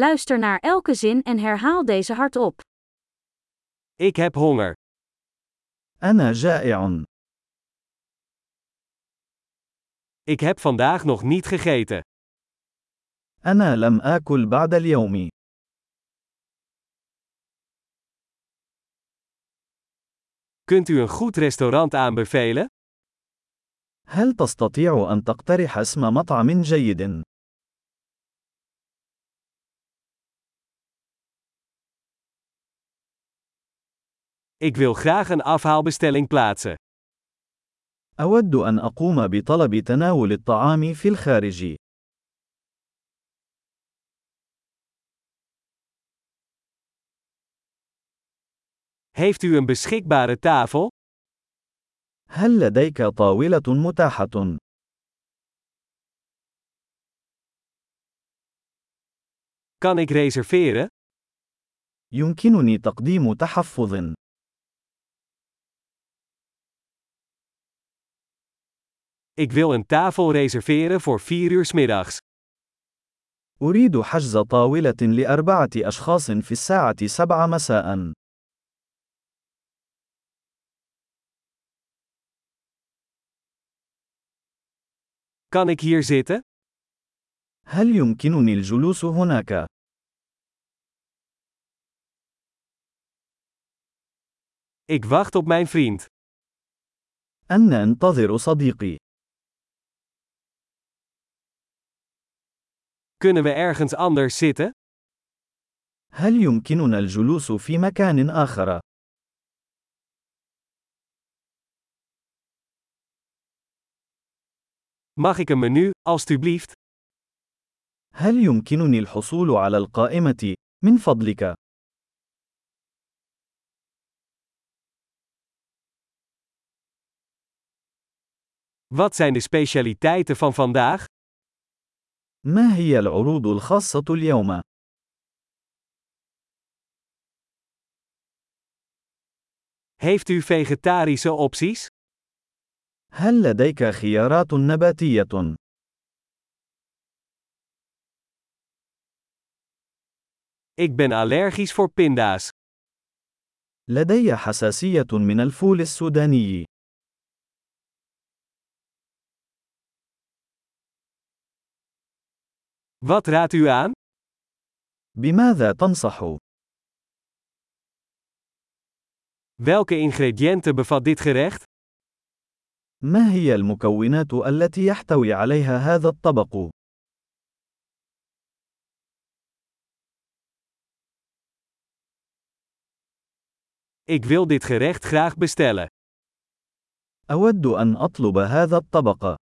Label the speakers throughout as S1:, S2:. S1: Luister naar elke zin en herhaal deze hardop.
S2: Ik heb honger.
S3: أنا جائع.
S2: Ik heb vandaag nog niet gegeten.
S3: أنا لم آكل بعد اليوم.
S2: Kunt u een goed restaurant aanbevelen?
S3: هل تستطيع أن تقترح اسم مطعم جيد؟
S2: Ik wil graag een afhaalbestelling plaatsen.
S3: أود أن أقوم بطلب تناول الطعام في الخارج.
S2: Heeft u een beschikbare tafel?
S3: هل لديك طاولة متاحة؟
S2: Kan ik reserveren?
S3: يمكنني تقديم تحفظ.
S2: Ik wil een tafel reserveren voor 4 uur 's middags.
S3: أريد حجز طاولة لأربعة أشخاص في الساعة 7 مساء.
S2: Kan ik hier zitten?
S3: هل يمكنني الجلوس هناك؟
S2: Ik wacht op mijn vriend.
S3: أنا أنتظر صديقي.
S2: Kunnen we ergens anders zitten?
S3: هل يمكننا الجلوس في مكان آخر؟
S2: Mag ik een menu, alstublieft?
S3: هل يمكنني الحصول على القائمة؟ من فضلك،
S2: Wat zijn de specialiteiten van vandaag?
S3: ما هي العروض الخاصة اليوم؟
S2: Heeft u vegetarische opties?
S3: هل لديك خيارات نباتية؟
S2: Ik ben allergisch voor pinda's.
S3: لدي حساسية من الفول السوداني.
S2: Wat raadt u aan?
S3: بماذا تنصح؟
S2: Welke ingrediënten bevat dit gerecht?
S3: ما هي المكونات التي يحتوي عليها هذا الطبق؟
S2: Ik wil dit gerecht graag bestellen.
S3: أود أن أطلب هذا الطبق.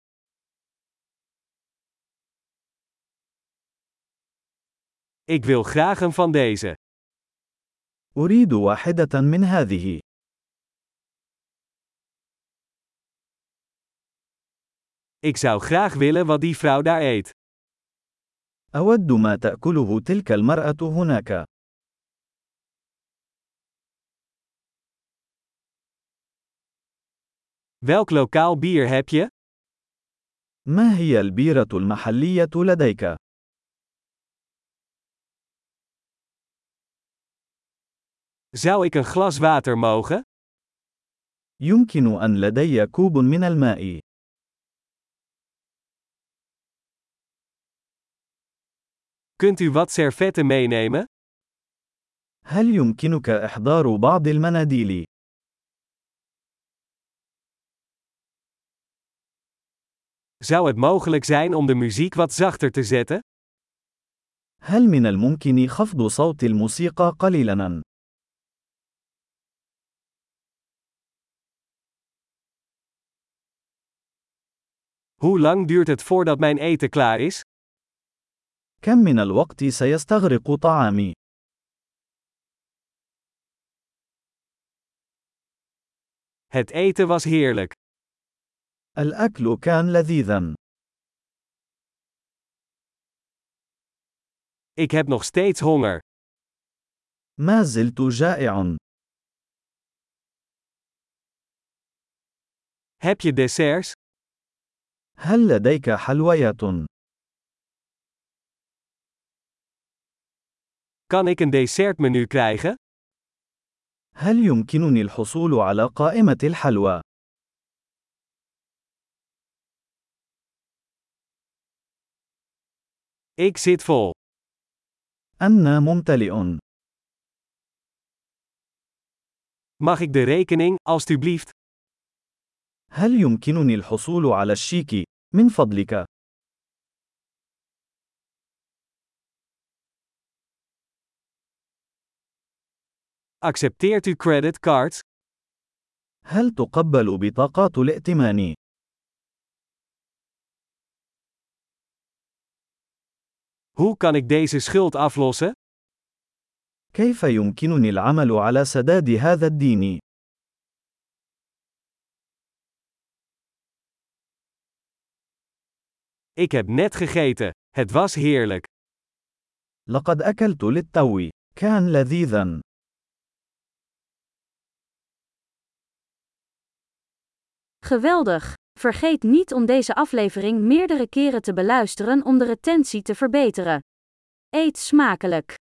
S2: Ik wil graag een van deze.
S3: أريد واحدة من هذه.
S2: Ik zou graag willen wat die vrouw daar eet.
S3: أود ما تأكله تلك المرأة هناك.
S2: Welk lokaal bier heb je?
S3: ما هي البيرة المحلية لديك؟
S2: Zou ik een glas water mogen?
S3: يمكن أن لدي كوب من الماء.
S2: Kunt u wat servetten meenemen?
S3: هل يمكنك إحضار بعض المناديل؟
S2: Zou het mogelijk zijn om de muziek wat zachter te zetten?
S3: هل من الممكن خفض صوت الموسيقى قليلاً؟
S2: Hoe lang duurt het voordat mijn eten klaar is?
S3: كم من الوقت سيستغرق طعامي؟
S2: Het eten was heerlijk.
S3: الأكل كان لذيذاً.
S2: Ik heb nog steeds honger.
S3: ما زلت جائع.
S2: Heb je desserts?
S3: هل لديك حلويات؟
S2: Kan ik een dessertmenu krijgen?
S3: هل يمكنني الحصول على قائمة الحلوى؟
S2: Ik zit vol.
S3: أنا ممتلئ.
S2: Mag ik de rekening, alstublieft?
S3: هل يمكنني الحصول على الشيك؟ من فضلك.
S2: Accepteert u creditcards?
S3: هل تقبل بطاقات الائتمان؟
S2: Hoe kan ik deze schuld aflossen?
S3: كيف يمكنني العمل على سداد هذا الدين؟
S2: Ik heb net gegeten. Het was heerlijk.
S3: لقد أكلت للتو. كان لذيذا.
S1: Geweldig! Vergeet niet om deze aflevering meerdere keren te beluisteren om de retentie te verbeteren. Eet smakelijk!